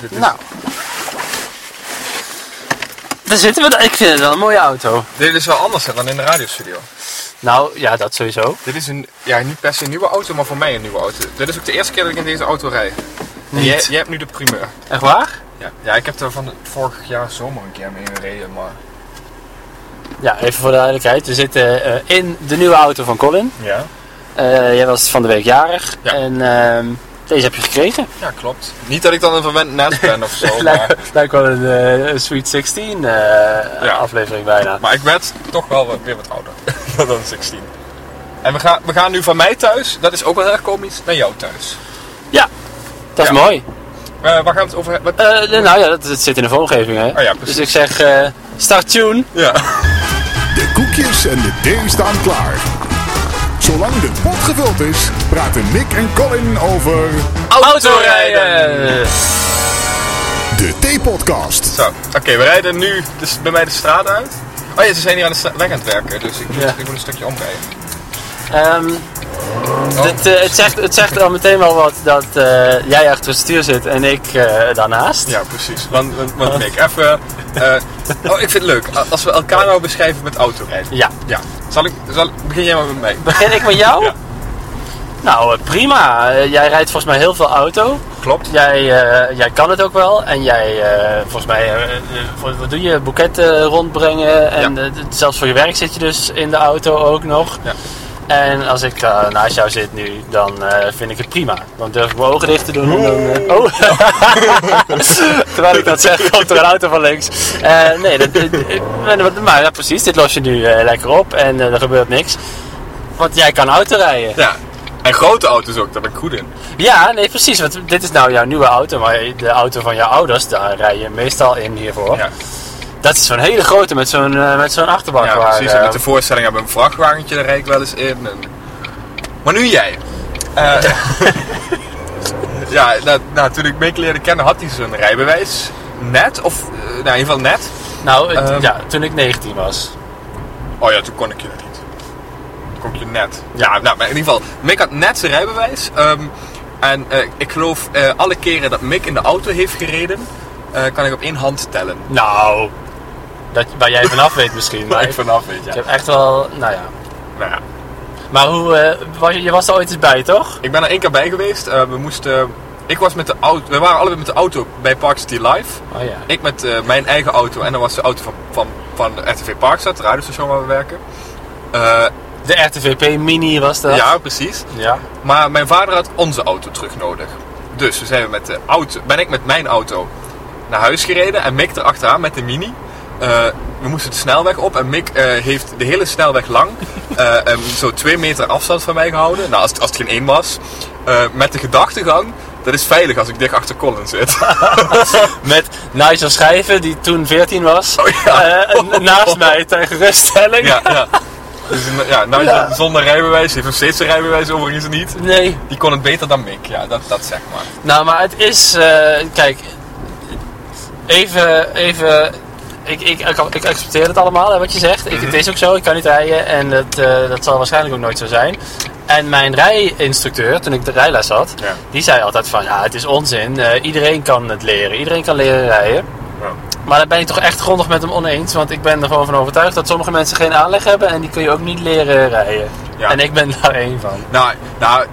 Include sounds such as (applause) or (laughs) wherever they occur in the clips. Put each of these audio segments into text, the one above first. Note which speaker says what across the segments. Speaker 1: Dit is,
Speaker 2: Nou. Daar zitten we. dan. Ik vind het wel een mooie auto.
Speaker 1: dit is wel anders hè, dan in de radiostudio.
Speaker 2: Nou, ja, dat sowieso.
Speaker 1: Dit is een, ja, niet per se een nieuwe auto, maar voor mij een nieuwe auto. Dit is ook de eerste keer dat ik in deze auto rij. En jij,
Speaker 2: Niet.
Speaker 1: jij hebt nu de primeur.
Speaker 2: Echt waar?
Speaker 1: Ja, ja ik heb er van vorig jaar zomer een keer mee gereden, maar...
Speaker 2: Ja, even voor de duidelijkheid. We zitten eh, in de nieuwe auto van Colin.
Speaker 1: Ja?
Speaker 2: Eh, jij was van de week jarig.
Speaker 1: Ja.
Speaker 2: En ehm, deze heb je gekregen.
Speaker 1: Ja, klopt. Niet dat ik dan een verwend nest ben of
Speaker 2: Oh,
Speaker 1: zo, maar,
Speaker 2: Lijkt, lijkt wel een eh, een Sweet 16 eh,
Speaker 1: Ja.
Speaker 2: aflevering bijna.
Speaker 1: maar ik werd toch wel wat- weer wat ouder dan 16. En we gaan, we gaan nu van mij thuis, dat is ook wel heel erg komisch, naar jou thuis.
Speaker 2: Dat is
Speaker 1: Ja.
Speaker 2: mooi.
Speaker 1: Eh, waar gaan we het over hebben? Wat-
Speaker 2: Eh, nou ja, dat, dat zit in de vormgeving hè.
Speaker 1: ja, precies.
Speaker 2: dus ik zeg, eh, start tune.
Speaker 1: (laughs) Ja.
Speaker 3: De koekjes en de thee staan klaar. Zolang de pot gevuld is, praten Nick en Colin over
Speaker 2: Autorijden!
Speaker 3: de Theepodcast.
Speaker 1: Zo, oké, we rijden nu dus bij mij de straat uit. Oh ja, ze zijn hier aan de stra- weg aan het werken, dus ik moet,
Speaker 2: Ja.
Speaker 1: ik moet een stukje omrijden.
Speaker 2: Ehm, dit, eh, het, zegt, het zegt al meteen wel wat dat eh, jij achter het stuur zit en ik eh, daarnaast.
Speaker 1: Ja, precies. Want, want, want Nick, even... (laughs) eh, oh, ik vind het leuk. A- Als we elkaar nou beschrijven met autorijden.
Speaker 2: Ja.
Speaker 1: Ja. Zal ik... Zal, begin jij maar met mij.
Speaker 2: Begin ik met jou?
Speaker 1: Ja.
Speaker 2: Nou, eh, prima. Eh, jij rijdt volgens mij heel veel auto.
Speaker 1: (laughs) Klopt.
Speaker 2: Jij, eh, jij kan het ook wel. En jij, eh, volgens mij, eh, eh, wat- wat doe je? Boeketten eh, rondbrengen. En
Speaker 1: Ja.
Speaker 2: eh, d- zelfs voor je werk zit je dus in de auto ook nog.
Speaker 1: Ja.
Speaker 2: En als ik eh, naast jou zit nu, dan eh, vind ik het prima. Dan durf ik mijn ogen dicht te doen. En dan, eh, oh! (laughs) Terwijl ik dat zeg, komt er een auto van links. Eh, nee, dat, dat- maar ja, precies. Dit los je nu eh, lekker op en eh, er gebeurt niks. Want jij kan autorijden.
Speaker 1: Ja. En grote auto's ook, daar ben ik goed in.
Speaker 2: Ja, nee, precies. Want dit is nou jouw nieuwe auto, maar de auto van jouw ouders, daar rij je meestal in hiervoor.
Speaker 1: Ja,
Speaker 2: Dat is zo'n hele grote met zo'n eh, met zo'n achterbak.
Speaker 1: ja
Speaker 2: waar,
Speaker 1: precies.
Speaker 2: eh,
Speaker 1: En met de voorstelling hebben we een vrachtwagentje, daar rijd ik wel eens in. En... Maar nu jij. Eh, (laughs) ja, nou, nou, toen ik Mick leerde kennen had hij zijn rijbewijs. Net, of... eh, nou, in ieder geval net.
Speaker 2: nou, het-
Speaker 1: Ehm.
Speaker 2: ja, toen ik 19 was.
Speaker 1: Oh ja, toen kon ik je dat niet. Toen kon ik je net. Ja, nou, maar in ieder geval, Mick had net zijn rijbewijs. Ehm, en eh, ik geloof eh, alle keren dat Mick in de auto heeft gereden, eh, kan ik op één hand tellen.
Speaker 2: Nou, dat, waar jij vanaf weet
Speaker 1: (laughs)
Speaker 2: misschien. Maar
Speaker 1: Waar ik vanaf weet, ja.
Speaker 2: ik heb echt wel, nou ja.
Speaker 1: Nou ja.
Speaker 2: Maar hoe, eh, was, je- je was er ooit eens bij, toch?
Speaker 1: Ik ben er één keer bij geweest. Eh, we moesten... Ik was met de auto... We waren allebei met de auto bij Park City Live.
Speaker 2: Oh ja.
Speaker 1: Ik met eh, mijn eigen auto en dan was de auto van, van, van RTV Parkstad, het radiostation waar we werken. Eh,
Speaker 2: De RTVP Mini was dat.
Speaker 1: ja, precies.
Speaker 2: Ja.
Speaker 1: Maar mijn vader had onze auto terug nodig. Dus toen zijn we met de auto, ben ik met mijn auto naar huis gereden en Mick erachteraan met de mini. Eh, we moesten de snelweg op en Mick eh, heeft de hele snelweg lang eh, em, zo twee meter afstand van mij gehouden. Nou, als, het- als het geen één was. Eh, met de gedachtegang, dat is veilig als ik dicht achter Colin zit.
Speaker 2: Met Nigel Schijven, die toen 14 was,
Speaker 1: Oh ja.
Speaker 2: eh,
Speaker 1: (laughs)
Speaker 2: en naast mij ter geruststelling.
Speaker 1: ja, ja. Dus, eh, ja, nou,
Speaker 2: Ja.
Speaker 1: zonder rijbewijs, heeft nog steeds een rijbewijs overigens niet.
Speaker 2: Nee,
Speaker 1: Die kon het beter dan Mick, ja, dat, dat zeg maar.
Speaker 2: Nou, maar het is. eh, kijk, even. even ik, ik, ik, ik accepteer het allemaal, hè, wat je zegt. Ik, het is ook zo, ik kan niet rijden en dat, eh, dat zal waarschijnlijk ook nooit zo zijn. En mijn rijinstructeur, toen ik de rijles had,
Speaker 1: Ja.
Speaker 2: die zei altijd van ja, het is onzin. eh, iedereen kan het leren, iedereen kan leren rijden. Maar daar ben ik toch echt grondig met hem oneens. Want ik ben er gewoon van overtuigd dat sommige mensen geen aanleg hebben en die kun je ook niet leren rijden.
Speaker 1: Ja.
Speaker 2: En ik ben daar één van.
Speaker 1: Nou, nou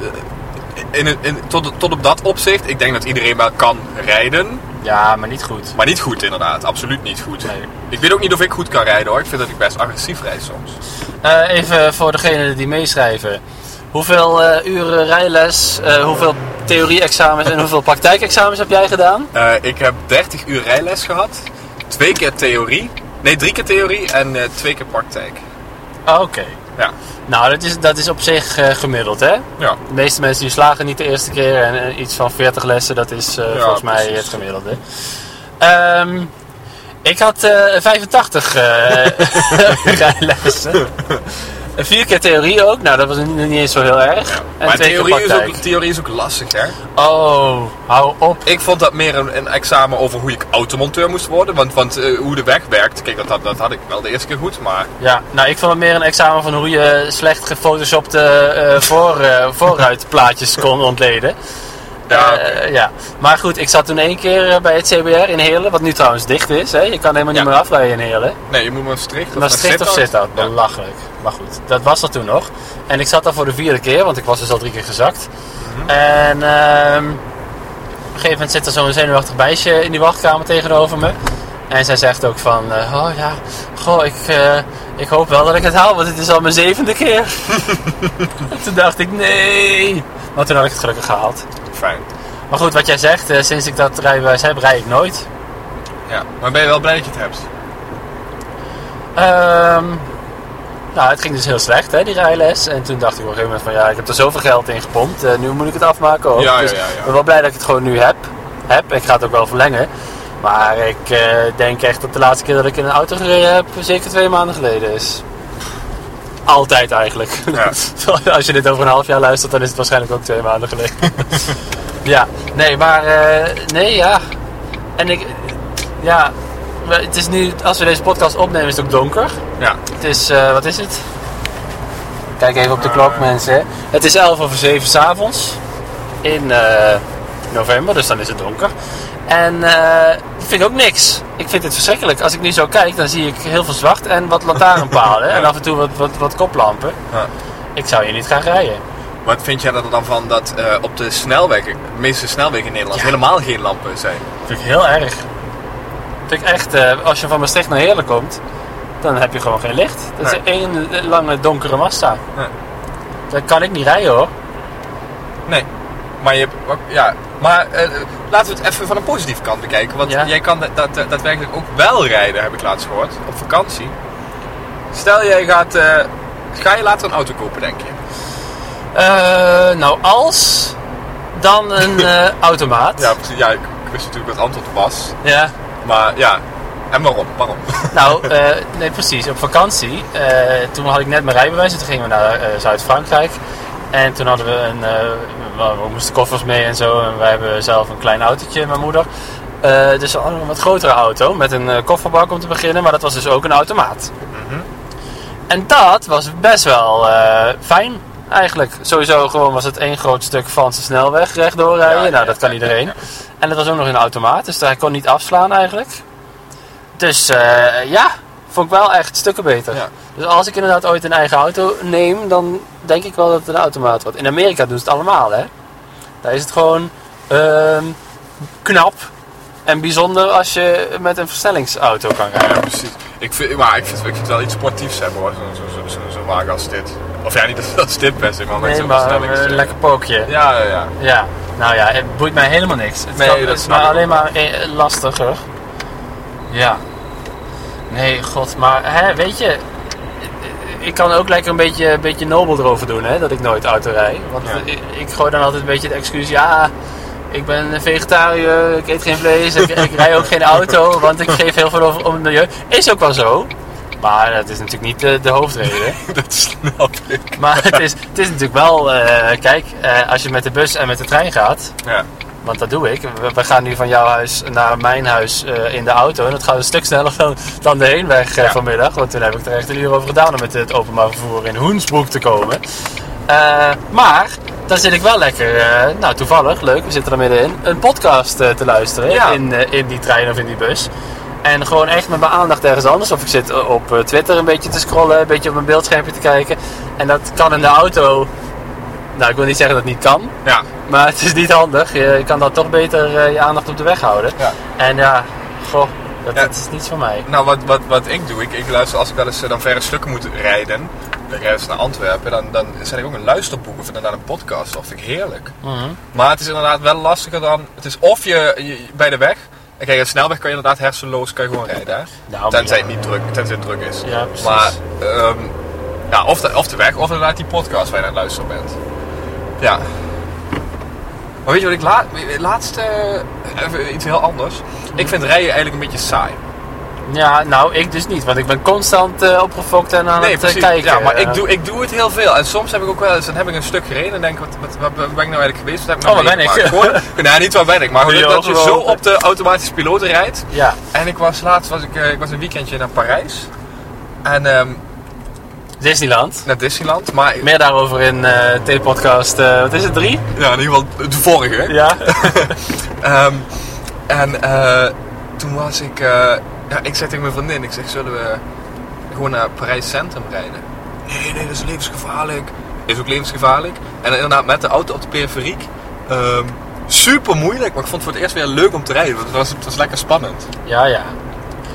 Speaker 1: in, in, in- tot, tot op dat opzicht, ik denk dat iedereen wel kan rijden.
Speaker 2: Ja, maar niet goed.
Speaker 1: Maar niet goed inderdaad, absoluut niet goed.
Speaker 2: Nee.
Speaker 1: Ik weet ook niet of ik goed kan rijden hoor. Ik vind dat ik best agressief rijd soms.
Speaker 2: Eh, even voor degenen die meeschrijven. Hoeveel eh, uren rijles, eh, hoeveel theorie-examens en hoeveel praktijkexamens heb jij gedaan?
Speaker 1: Eh, ik heb 30 uur rijles gehad. Twee keer theorie. Nee, drie keer theorie en eh, twee keer praktijk.
Speaker 2: Ah, Oké.
Speaker 1: Ja.
Speaker 2: Nou, dat is, dat is op zich eh, gemiddeld, hè?
Speaker 1: Ja.
Speaker 2: De meeste mensen die slagen niet de eerste keer en eh, iets van 40 lessen, dat is eh,
Speaker 1: Ja,
Speaker 2: volgens mij
Speaker 1: precies.
Speaker 2: het gemiddelde. Ehm, ik had eh, 85 (laughs) eh, rijlessen. Vier keer theorie ook, nou dat was niet, niet eens zo heel erg. En
Speaker 1: maar
Speaker 2: twee keer
Speaker 1: theorie is, ook,
Speaker 2: praktijk.
Speaker 1: theorie is ook lastig hè.
Speaker 2: Oh, hou op.
Speaker 1: Ik vond dat meer een, een examen over hoe ik automonteur moest worden. Want, want eh, hoe de weg werkt, kijk dat, dat, dat had ik wel de eerste keer goed. Maar
Speaker 2: Ja, nou ik vond het meer een examen van
Speaker 1: (laughs)
Speaker 2: hoe je slecht gefotoshopte eh voor, eh, voorruitplaatjes kon ontleden.
Speaker 1: Ja,
Speaker 2: Eh,
Speaker 1: oké.
Speaker 2: ja. Maar goed, ik zat toen één keer eh, bij het CBR in Heerlen, wat nu trouwens dicht is. Hè? Je kan helemaal niet
Speaker 1: Ja.
Speaker 2: meer afrijden in Heerlen.
Speaker 1: Nee, je moet maar strikt of
Speaker 2: Maastricht of
Speaker 1: zit
Speaker 2: Sittard,
Speaker 1: Ja.
Speaker 2: belachelijk. Maar goed, dat was dat toen nog. En ik zat daar voor de vierde keer, want ik was dus al drie keer gezakt. En ehm, op een gegeven moment zit er zo'n zenuwachtig meisje in die wachtkamer tegenover me. En zij zegt ook van, eh, oh ja, goh, ik, eh, ik hoop wel dat ik het haal, want het is al mijn zevende keer. En toen dacht ik, nee. Maar toen had ik het gelukkig gehaald.
Speaker 1: Fijn.
Speaker 2: Maar goed, wat jij zegt, eh, sinds ik dat rijbewijs heb, rij ik nooit.
Speaker 1: Ja. Maar ben je wel blij dat je het hebt?
Speaker 2: Ehm, nou, het ging dus heel slecht, hè, die rijles. En toen dacht ik op een gegeven moment van, ja, ik heb er zoveel geld in gepompt. eh, nu moet ik het afmaken ook.
Speaker 1: Ja, ja,
Speaker 2: dus
Speaker 1: ja, ja.
Speaker 2: ik ben wel blij dat ik het gewoon nu heb. heb. Ik ga het ook wel verlengen. Maar ik eh, denk echt dat de laatste keer dat ik in een auto gereden heb, zeker twee maanden geleden is. Altijd eigenlijk.
Speaker 1: Ja.
Speaker 2: (laughs) Als je dit over een half jaar luistert, dan is het waarschijnlijk ook twee maanden geleden. (laughs) ja, nee, maar eh, nee, ja. En ik, ja, we- het is nu, als we deze podcast opnemen, is het ook donker.
Speaker 1: Ja.
Speaker 2: Het is, eh, wat is het? Kijk even op de klok, mensen. Het is 11 over 7 s'avonds in eh, november, dus dan is het donker. En eh, ik vind ook niks. Ik vind het verschrikkelijk. Als ik nu zo kijk, dan zie ik heel veel zwart en wat lantaarnpalen. En af en toe wat, wat, wat koplampen.
Speaker 1: Ja.
Speaker 2: Ik zou hier niet gaan rijden.
Speaker 1: Wat vind jij er dan van dat eh, op de snelweg, de meeste snelwegen in Nederland,
Speaker 2: Ja.
Speaker 1: helemaal geen lampen zijn?
Speaker 2: vind ik heel erg. vind ik echt, eh, als je van Maastricht naar Heerlen komt, dan heb je gewoon geen licht. Dat is
Speaker 1: Nee.
Speaker 2: één eh, lange donkere massa.
Speaker 1: Nee.
Speaker 2: Daar kan ik niet rijden hoor.
Speaker 1: Nee. Maar, je, hebt ook- ja. maar eh, laten we het even van een positieve kant bekijken. Want
Speaker 2: Ja.
Speaker 1: jij kan dat, dat, eh, daadwerkelijk ook wel rijden, heb ik laatst gehoord, op vakantie. Stel, jij gaat, eh, ga je later een auto kopen, denk je?
Speaker 2: Eh, nou, als dan een eh, automaat.
Speaker 1: Ja, precies. Ja, ik, ik wist natuurlijk wat het antwoord was.
Speaker 2: Ja.
Speaker 1: Maar ja, en waarom? Waarom?
Speaker 2: Nou, eh, nee, precies. Op vakantie, eh, toen had ik net mijn rijbewijs en toen gingen we naar eh, Zuid-Frankrijk. En toen hadden we een. eh, we- we moesten koffers mee en zo. En wij hebben zelf een klein autootje, mijn moeder. Eh, dus we hadden een wat grotere auto met een eh, kofferbak om te beginnen, maar dat was dus ook een automaat.
Speaker 1: Mhm.
Speaker 2: En dat was best wel eh, fijn eigenlijk. Sowieso gewoon was het één groot stuk van de snelweg rechtdoor rijden.
Speaker 1: Ja, ja,
Speaker 2: nou, dat kan
Speaker 1: ja, ja,
Speaker 2: iedereen.
Speaker 1: ja.
Speaker 2: En dat was ook nog een automaat, dus daar kon niet afslaan eigenlijk. Dus eh, ja, vond ik wel echt stukken beter.
Speaker 1: Ja.
Speaker 2: Dus als ik inderdaad ooit een eigen auto neem, dan denk ik wel dat het een automaat wordt. In Amerika doen ze het allemaal, hè. Daar is het gewoon ehm, knap en bijzonder als je met een versnellingsauto kan rijden.
Speaker 1: Ja, precies. Ik vind, maar ik vind, ik vind het wel iets sportiefs hebben hoor, zo'n zo, zo, zo, zo'n wagen als dit. Of ja, niet dat- dat is dit per se, maar met
Speaker 2: Nee,
Speaker 1: zo'n
Speaker 2: maar
Speaker 1: versnellings-
Speaker 2: een eh, lekker pookje.
Speaker 1: Ja, ja, (laughs) ja.
Speaker 2: Ja, nou ja, het boeit mij helemaal niks. Het
Speaker 1: Nee,
Speaker 2: kan-
Speaker 1: dat
Speaker 2: het is
Speaker 1: snap
Speaker 2: maar
Speaker 1: ik
Speaker 2: alleen
Speaker 1: ook.
Speaker 2: maar eh, lastiger. Ja. Nee, god, maar hè, weet je, ik kan ook lekker een beetje, een beetje nobel erover doen, hè, dat ik nooit auto rijd. Want
Speaker 1: Ja.
Speaker 2: ik, ik gooi dan altijd een beetje het excuus, ja, ik ben een vegetariër, ik eet geen vlees, ik, ik rij ook geen auto, want ik geef heel veel over om het milieu. Is ook wel zo, maar dat is natuurlijk niet de, de hoofdreden.
Speaker 1: Dat snap ik.
Speaker 2: Maar het is, het is natuurlijk wel, eh, kijk, eh, als je met de bus en met de trein gaat,
Speaker 1: Ja.
Speaker 2: want dat doe ik. We, we gaan nu van jouw huis naar mijn huis eh, in de auto. En dat gaat een stuk sneller dan, dan de heenweg eh,
Speaker 1: Ja.
Speaker 2: vanmiddag. Want toen heb ik er echt een uur over gedaan om met het openbaar vervoer in Hoensbroek te komen. Eh, maar dan zit ik wel lekker, eh, nou toevallig, leuk, we zitten er middenin, een podcast eh, te luisteren
Speaker 1: Ja.
Speaker 2: in, eh, in die trein of in die bus. En gewoon echt met mijn aandacht ergens anders. Of ik zit eh, op eh, Twitter een beetje te scrollen, een beetje op mijn beeldschermpje te kijken. En dat kan in de auto. Nou, ik wil niet zeggen dat het niet kan.
Speaker 1: Ja.
Speaker 2: Maar het is niet handig. Je, je kan dan toch beter eh, je aandacht op de weg houden.
Speaker 1: Ja.
Speaker 2: En ja, goh, dat,
Speaker 1: Ja.
Speaker 2: dat is niets voor mij.
Speaker 1: Nou, wat, wat, wat ik doe, ik, ik luister als ik wel eens eh, dan verre stukken moet rijden, de reis naar Antwerpen, dan, dan zet ik ook een luisterboek of inderdaad een podcast. Dat vind ik heerlijk.
Speaker 2: Mhm.
Speaker 1: Maar het is inderdaad wel lastiger dan, het is of je, je- bij de weg, en kijk, een snelweg kan je inderdaad hersenloos kan je gewoon rijden. Hè?
Speaker 2: Nou,
Speaker 1: tenzij
Speaker 2: ja.
Speaker 1: het niet druk, tenzij het druk is.
Speaker 2: Ja, precies.
Speaker 1: Maar, ehm, ja, of de, of de weg, of inderdaad die podcast waar je aan het luisteren bent. Ja. Maar weet je wat ik laat, laatst, eh, even iets heel anders. Ik vind rijden eigenlijk een beetje saai.
Speaker 2: Ja, nou, ik dus niet. Want ik ben constant eh, opgefokt en aan
Speaker 1: Nee,
Speaker 2: het eh,
Speaker 1: precies.
Speaker 2: kijken.
Speaker 1: Ja, maar
Speaker 2: Eh,
Speaker 1: ik doe, ik doe het heel veel. En soms heb ik ook wel eens, dan heb ik een stuk gereden en denk ik, wat, wat, wat ben ik nou eigenlijk geweest? Wat heb ik nou
Speaker 2: Oh, waar ben
Speaker 1: meegemaakt?
Speaker 2: (laughs)
Speaker 1: Gewoon, nou, niet waar ben ik, maar gewoon
Speaker 2: Nee,
Speaker 1: dat, dat je
Speaker 2: joh,
Speaker 1: zo
Speaker 2: gewoon.
Speaker 1: op de automatische piloot rijdt.
Speaker 2: Ja,
Speaker 1: En ik was laatst, was ik, eh, ik was een weekendje naar Parijs. En ehm,
Speaker 2: Disneyland.
Speaker 1: naar Disneyland. Maar
Speaker 2: Meer daarover in eh telepodcast, eh, wat is het, drie?
Speaker 1: ja, in ieder geval de vorige.
Speaker 2: Ja.
Speaker 1: Ehm, en eh, toen was ik... eh, ja, ik zei tegen mijn vriendin, ik zeg, zullen we gewoon naar Parijs Centrum rijden? Nee, nee, dat is levensgevaarlijk. Is ook levensgevaarlijk. En inderdaad, met de auto op de periferiek. ehm, super moeilijk, maar ik vond het voor het eerst weer leuk om te rijden. want Het was, het was lekker spannend.
Speaker 2: (laughs) ja, ja.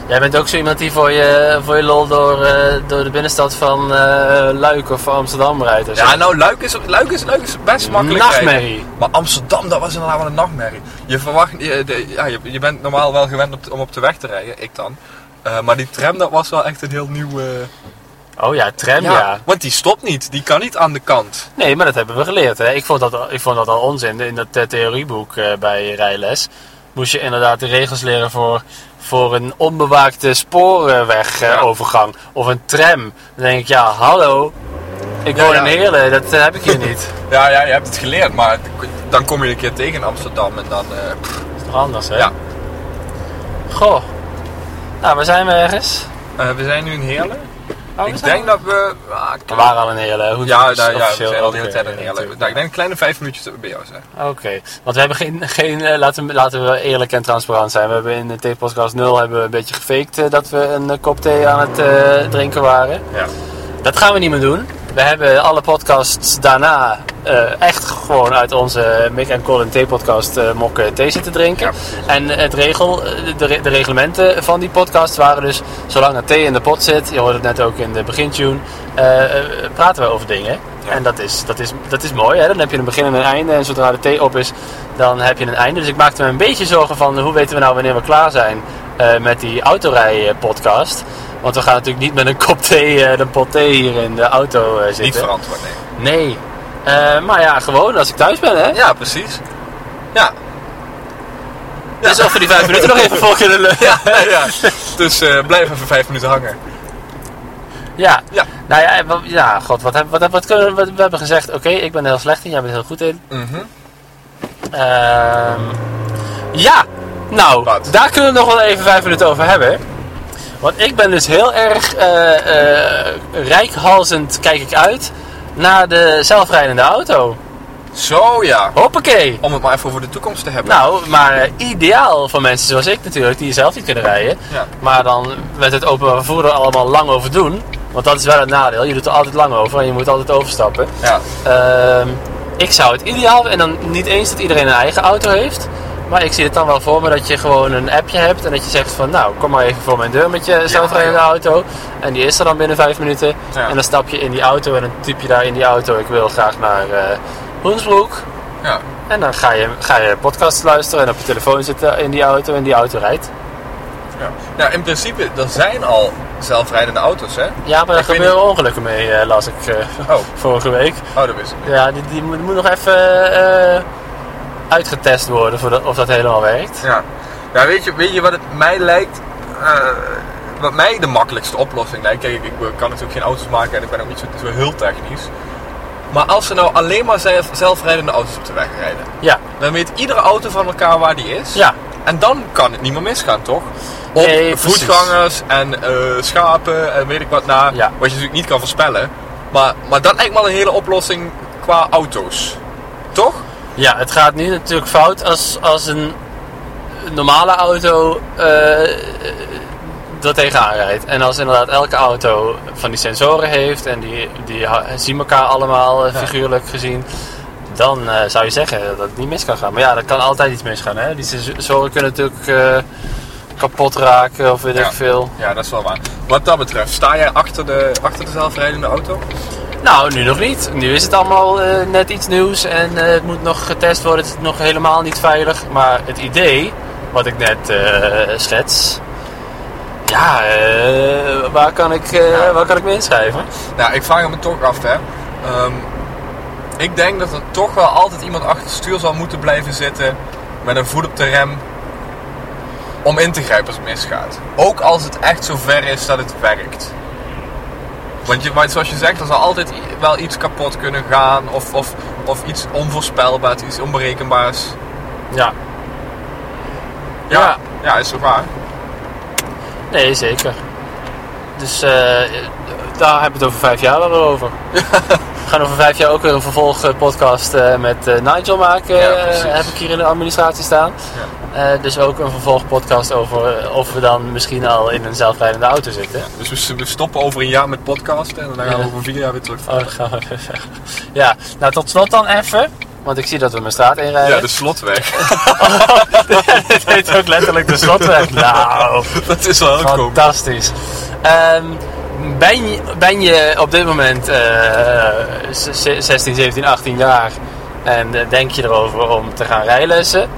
Speaker 2: Jij bent ook zo iemand die voor je, voor je lol door, eh, door de binnenstad van eh, Luik of Amsterdam rijdt. of zo.
Speaker 1: Ja, nou, Luik is, Luik is, Luik is best makkelijk rijden.
Speaker 2: Nachtmerrie.
Speaker 1: Maar Amsterdam, dat was inderdaad wel een nachtmerrie. Je, verwacht, je, de- ja, je, je bent normaal wel gewend op, om op de weg te rijden, ik dan. Eh, maar die tram, dat was wel echt een heel nieuw... eh,
Speaker 2: Oh ja, tram, ja.
Speaker 1: Want die stopt niet, die kan niet aan de kant.
Speaker 2: Nee, maar dat hebben we geleerd. Hè. Ik, vond dat, al- ik vond dat al onzin. In dat eh, theorieboek eh, bij rijles moest je inderdaad de regels leren voor, voor een onbewaakte
Speaker 1: Ja.
Speaker 2: sporenwegovergang. Of een tram. Dan denk ik, ja, hallo. Ik
Speaker 1: Ja,
Speaker 2: woon
Speaker 1: ja.
Speaker 2: in Heerlen, dat eh, heb ik hier
Speaker 1: (laughs)
Speaker 2: niet.
Speaker 1: Ja, ja, je hebt het geleerd, maar dan kom je een keer tegen in Amsterdam en dan... eh, pff,
Speaker 2: Dat is toch anders, hè?
Speaker 1: Ja.
Speaker 2: Goh. Nou, waar zijn we ergens?
Speaker 1: eh, we zijn nu in Heerlen.
Speaker 2: Oh, we
Speaker 1: ik
Speaker 2: zijn-
Speaker 1: denk dat we... ah, ik-
Speaker 2: We waren al in Heerlen. Hoe
Speaker 1: ja,
Speaker 2: het is
Speaker 1: daar, ja, we
Speaker 2: officieel
Speaker 1: zijn al
Speaker 2: ook
Speaker 1: de hele
Speaker 2: weer
Speaker 1: tijd in
Speaker 2: in
Speaker 1: Heerlen.
Speaker 2: natuurlijk.
Speaker 1: Nou, ik denk een kleine vijf minuutjes dat we bij jou zijn.
Speaker 2: Oké, want we hebben geen, geen eh, laten, we- laten we eerlijk en transparant zijn. We hebben in de T-podcast 0 hebben we een beetje gefaked eh, dat we een eh, kop thee aan het eh, drinken waren.
Speaker 1: Ja.
Speaker 2: Dat gaan we niet meer doen. We hebben alle podcasts daarna eh, echt gewoon uit onze Mick en Colin T-podcast eh, mokken thee zitten drinken.
Speaker 1: Ja,
Speaker 2: en het regel, eh, de, re- de reglementen van die podcast waren dus, zolang er thee in de pot zit, je hoorde het net ook in de begintune, eh, eh, praten we over dingen.
Speaker 1: Ja.
Speaker 2: En dat is, dat, is, dat is mooi, hè? dan heb je een begin en een einde. En zodra de thee op is, dan heb je een einde. Dus ik maakte me een beetje zorgen van, hoe weten we nou wanneer we klaar zijn eh, met die eh, autorij-podcast? Want we gaan natuurlijk niet met een kop thee, eh, een pot thee hier in de auto eh, zitten.
Speaker 1: Niet verantwoord, nee.
Speaker 2: Nee. Eh, maar ja, gewoon als ik thuis ben, hè?
Speaker 1: Ja, precies. Ja. (laughs)
Speaker 2: Dus of we die vijf minuten nog even voor kunnen lullen.
Speaker 1: Ja, ja. Dus eh, blijf even vijf minuten hangen.
Speaker 2: Ja.
Speaker 1: Ja.
Speaker 2: Nou ja, wa- ja god, wat, hebben- wat, wat kunnen we, wat- we hebben gezegd, oké, ik ben er heel slecht in, jij bent er heel goed in.
Speaker 1: Mhm.
Speaker 2: Ehm, ja, nou,
Speaker 1: Wat?
Speaker 2: daar kunnen we nog wel even vijf minuten over hebben. Want ik ben dus heel erg eh, eh, rijkhalzend, kijk ik uit, naar de zelfrijdende auto.
Speaker 1: Zo ja.
Speaker 2: Hoppakee!
Speaker 1: Om het maar even voor de toekomst te hebben.
Speaker 2: Nou, maar eh, ideaal voor mensen zoals ik natuurlijk, die zelf niet kunnen rijden.
Speaker 1: Ja.
Speaker 2: Maar dan met het openbaar vervoer er allemaal lang over doen. Want dat is wel het nadeel. Je doet er altijd lang over en je moet altijd overstappen.
Speaker 1: Ja.
Speaker 2: Ehm, ik zou het ideaal, en dan niet eens dat iedereen een eigen auto heeft. Maar ik zie het dan wel voor me dat je gewoon een appje hebt en dat je zegt van nou, kom maar even voor mijn deur met je zelfrijdende
Speaker 1: ja.
Speaker 2: auto. En die is er dan binnen vijf minuten.
Speaker 1: Ja.
Speaker 2: En dan stap je in die auto en dan typ je daar in die auto, ik wil graag naar eh Hoensbroek.
Speaker 1: ja.
Speaker 2: En dan ga je, ga je podcast luisteren en op je telefoon zitten in die auto en die auto rijdt.
Speaker 1: Ja. Nou, in principe, er zijn al zelfrijdende auto's, hè?
Speaker 2: Ja, maar daar
Speaker 1: Ik weet
Speaker 2: gebeuren ongelukken mee, eh, las ik eh, (laughs)
Speaker 1: Oh,
Speaker 2: vorige week.
Speaker 1: oh dat is het.
Speaker 2: Ja, die, die moet, moet nog even eh, uitgetest worden voor de- of dat helemaal werkt.
Speaker 1: Ja. Ja, weet je, weet je wat het mij lijkt? eh, wat mij de makkelijkste oplossing lijkt. Kijk, ik, ik kan natuurlijk geen auto's maken en ik ben ook niet zo, zo heel technisch. Maar als ze nou alleen maar zelf, zelfrijdende auto's op de weg rijden,
Speaker 2: Ja,
Speaker 1: dan weet iedere auto van elkaar waar die is.
Speaker 2: ja.
Speaker 1: En dan kan het niet meer misgaan, toch? Op
Speaker 2: Nee, precies.
Speaker 1: voetgangers en eh, schapen en weet ik wat na.
Speaker 2: Ja.
Speaker 1: Wat je natuurlijk niet kan voorspellen. Maar, maar dat lijkt me al een hele oplossing qua auto's. Toch?
Speaker 2: ja, het gaat nu natuurlijk fout als, als een normale auto eh er tegenaan rijdt. En als inderdaad elke auto van die sensoren heeft en die, die ha- zien elkaar allemaal eh,
Speaker 1: Ja.
Speaker 2: figuurlijk gezien. Dan eh, zou je zeggen dat het niet mis kan gaan. Maar ja, dat kan altijd iets misgaan. Hè? Die sensoren kunnen natuurlijk eh, kapot raken of weet
Speaker 1: Ja.
Speaker 2: ik veel.
Speaker 1: Ja, dat is wel waar. Wat dat betreft, sta jij achter de, achter de zelfrijdende auto?
Speaker 2: Nou, nu nog niet. Nu is het allemaal eh, net iets nieuws en eh, het moet nog getest worden. Het is nog helemaal niet veilig. Maar het idee, wat ik net eh, schets, ja, eh, waar, kan ik, eh,
Speaker 1: Ja.
Speaker 2: waar kan ik me inschrijven?
Speaker 1: Nou, ik vraag het me toch af, hè. Ehm, ik denk dat er toch wel altijd iemand achter het stuur zal moeten blijven zitten met een voet op de rem om in te grijpen als het misgaat. Ook als het echt zo ver is dat het werkt. Want je, maar zoals je zegt, er zal altijd i- wel iets kapot kunnen gaan of, of, of iets onvoorspelbaars, iets onberekenbaars.
Speaker 2: Ja,
Speaker 1: Ja, ja.
Speaker 2: Ja.
Speaker 1: is toch waar?
Speaker 2: nee, zeker. Dus eh, daar hebben we het over vijf jaar dan wel over.
Speaker 1: (laughs)
Speaker 2: we gaan over vijf jaar ook weer een vervolgpodcast eh, met eh, Nigel maken.
Speaker 1: Ja,
Speaker 2: eh,
Speaker 1: precies.
Speaker 2: heb ik hier in de administratie staan. Eh, dus ook een vervolgpodcast over eh, of we dan misschien al in een zelfrijdende auto zitten.
Speaker 1: Dus we, s- we stoppen over een jaar met podcasten en dan gaan we
Speaker 2: Ja.
Speaker 1: over vier jaar weer terug.
Speaker 2: Oh, dan gaan we ja, nou tot slot dan even. Want ik zie dat we mijn straat inrijden. (laughs)
Speaker 1: Ja, dus- de slotweg. (laughs)
Speaker 2: Dit heet ook letterlijk de slotweg. Nou,
Speaker 1: Dat is wel heel cool.
Speaker 2: fantastisch. Ehm, ben, je, ben je op dit moment eh, z- z- 16, 17, 18 jaar en eh, denk je erover om te gaan rijlessen?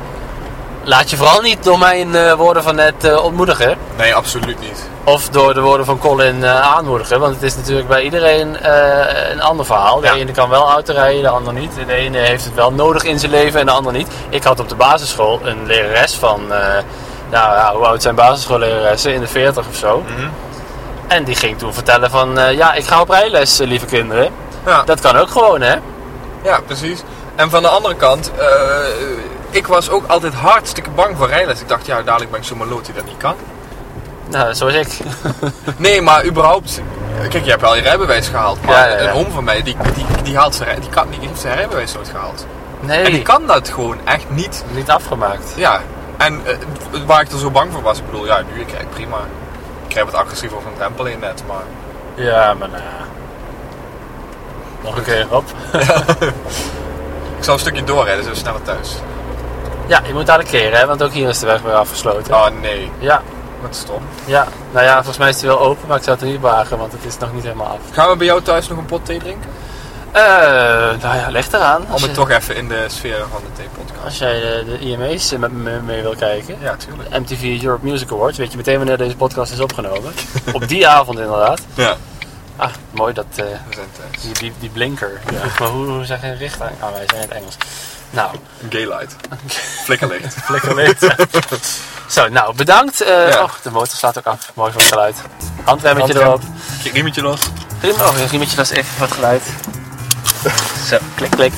Speaker 2: Laat je vooral niet door mijn eh, woorden van net eh, ontmoedigen.
Speaker 1: Nee, absoluut niet.
Speaker 2: Of door de woorden van Colin eh, aanmoedigen. Want het is natuurlijk bij iedereen eh, een ander verhaal. De
Speaker 1: Ja.
Speaker 2: ene kan wel auto rijden, de ander niet. De ene heeft het wel nodig in zijn leven en de ander niet. Ik had op de basisschool een lerares van... eh, nou ja, hoe oud zijn basisschoolleraressen? In de 40 of zo.
Speaker 1: Mhm.
Speaker 2: En die ging toen vertellen van... eh, ja, ik ga op rijles, eh, lieve kinderen.
Speaker 1: Ja,
Speaker 2: Dat kan ook gewoon, hè?
Speaker 1: ja, precies. En van de andere kant, eh, ik was ook altijd hartstikke bang voor rijles. Ik dacht, ja, dadelijk ben ik zo'n maloot die dat niet
Speaker 2: (laughs)
Speaker 1: kan.
Speaker 2: Nou, zoals ik. (laughs)
Speaker 1: Nee, maar überhaupt. Kijk, je hebt wel je rijbewijs gehaald. Maar
Speaker 2: Ja, ja, ja.
Speaker 1: een oom van mij, die, die, die, haalt zijn, rij- die, kan, die heeft zijn rijbewijs nooit gehaald.
Speaker 2: Nee,
Speaker 1: En die kan dat gewoon echt niet.
Speaker 2: niet afgemaakt.
Speaker 1: Ja. En eh, waar ik er zo bang voor was, ik bedoel, ja, nu ik krijg prima. Ik krijg wat agressief over een tempel in net, maar...
Speaker 2: Ja, maar nou... Nog een keer op.
Speaker 1: Ik zal een stukje doorrijden, dus we sneller thuis.
Speaker 2: Ja, je moet dadelijk keren, hè? Want ook hier is de weg weer afgesloten.
Speaker 1: Oh nee,
Speaker 2: Ja,
Speaker 1: wat stom.
Speaker 2: ja. Nou ja, volgens mij is die wel open, maar ik zou het er niet wagen, want het is nog niet helemaal af.
Speaker 1: Gaan we bij jou thuis nog een pot thee drinken?
Speaker 2: Eh, nou ja, leg eraan. Als,
Speaker 1: Om het
Speaker 2: je-
Speaker 1: toch even in de sfeer van de thee-podcast.
Speaker 2: als jij de, de E IMA's eh, met me mee wil kijken.
Speaker 1: Ja, tuurlijk.
Speaker 2: MTV Europe Music Awards, weet je meteen wanneer deze podcast is (laughs) opgenomen. Op die avond inderdaad.
Speaker 1: Ja,
Speaker 2: Ah, mooi dat, eh,
Speaker 1: we zijn thuis.
Speaker 2: die, die, die blinker. (laughs) Maar hoe, hoe zeg je richting? Ah, wij zijn in het Engels. Nou,
Speaker 1: Gay light. (laughs) Flikkerlicht.
Speaker 2: lekker weten. (laughs) Zo, nou, bedankt. Eh,
Speaker 1: Ja.
Speaker 2: oh, de motor slaat ook af. Mooi voor het geluid. Handremmetje
Speaker 1: Handrem.
Speaker 2: erop.
Speaker 1: Riemetje los.
Speaker 2: Prima, oh, een riemetje was even wat geluid. Zo, klik, klik.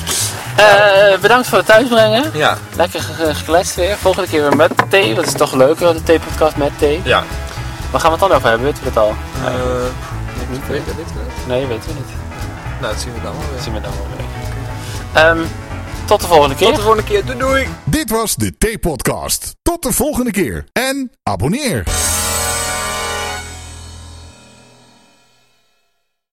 Speaker 2: Eh, bedankt voor het thuisbrengen.
Speaker 1: Ja.
Speaker 2: Lekker ge- ge- gekletst weer. Volgende keer weer met thee. Dat is toch leuker, de thee-podcast met thee.
Speaker 1: Ja.
Speaker 2: Waar gaan we het dan over hebben? Weten we het al?
Speaker 1: Eh, ik weet het niet.
Speaker 2: Nee, weten we niet.
Speaker 1: Nou, dat zien we dan wel weer.
Speaker 2: Dat zien we dan wel weer. Ehm, tot de volgende keer.
Speaker 1: Tot de volgende keer. Doei doei!
Speaker 3: Dit was de T-podcast. Tot de volgende keer en abonneer.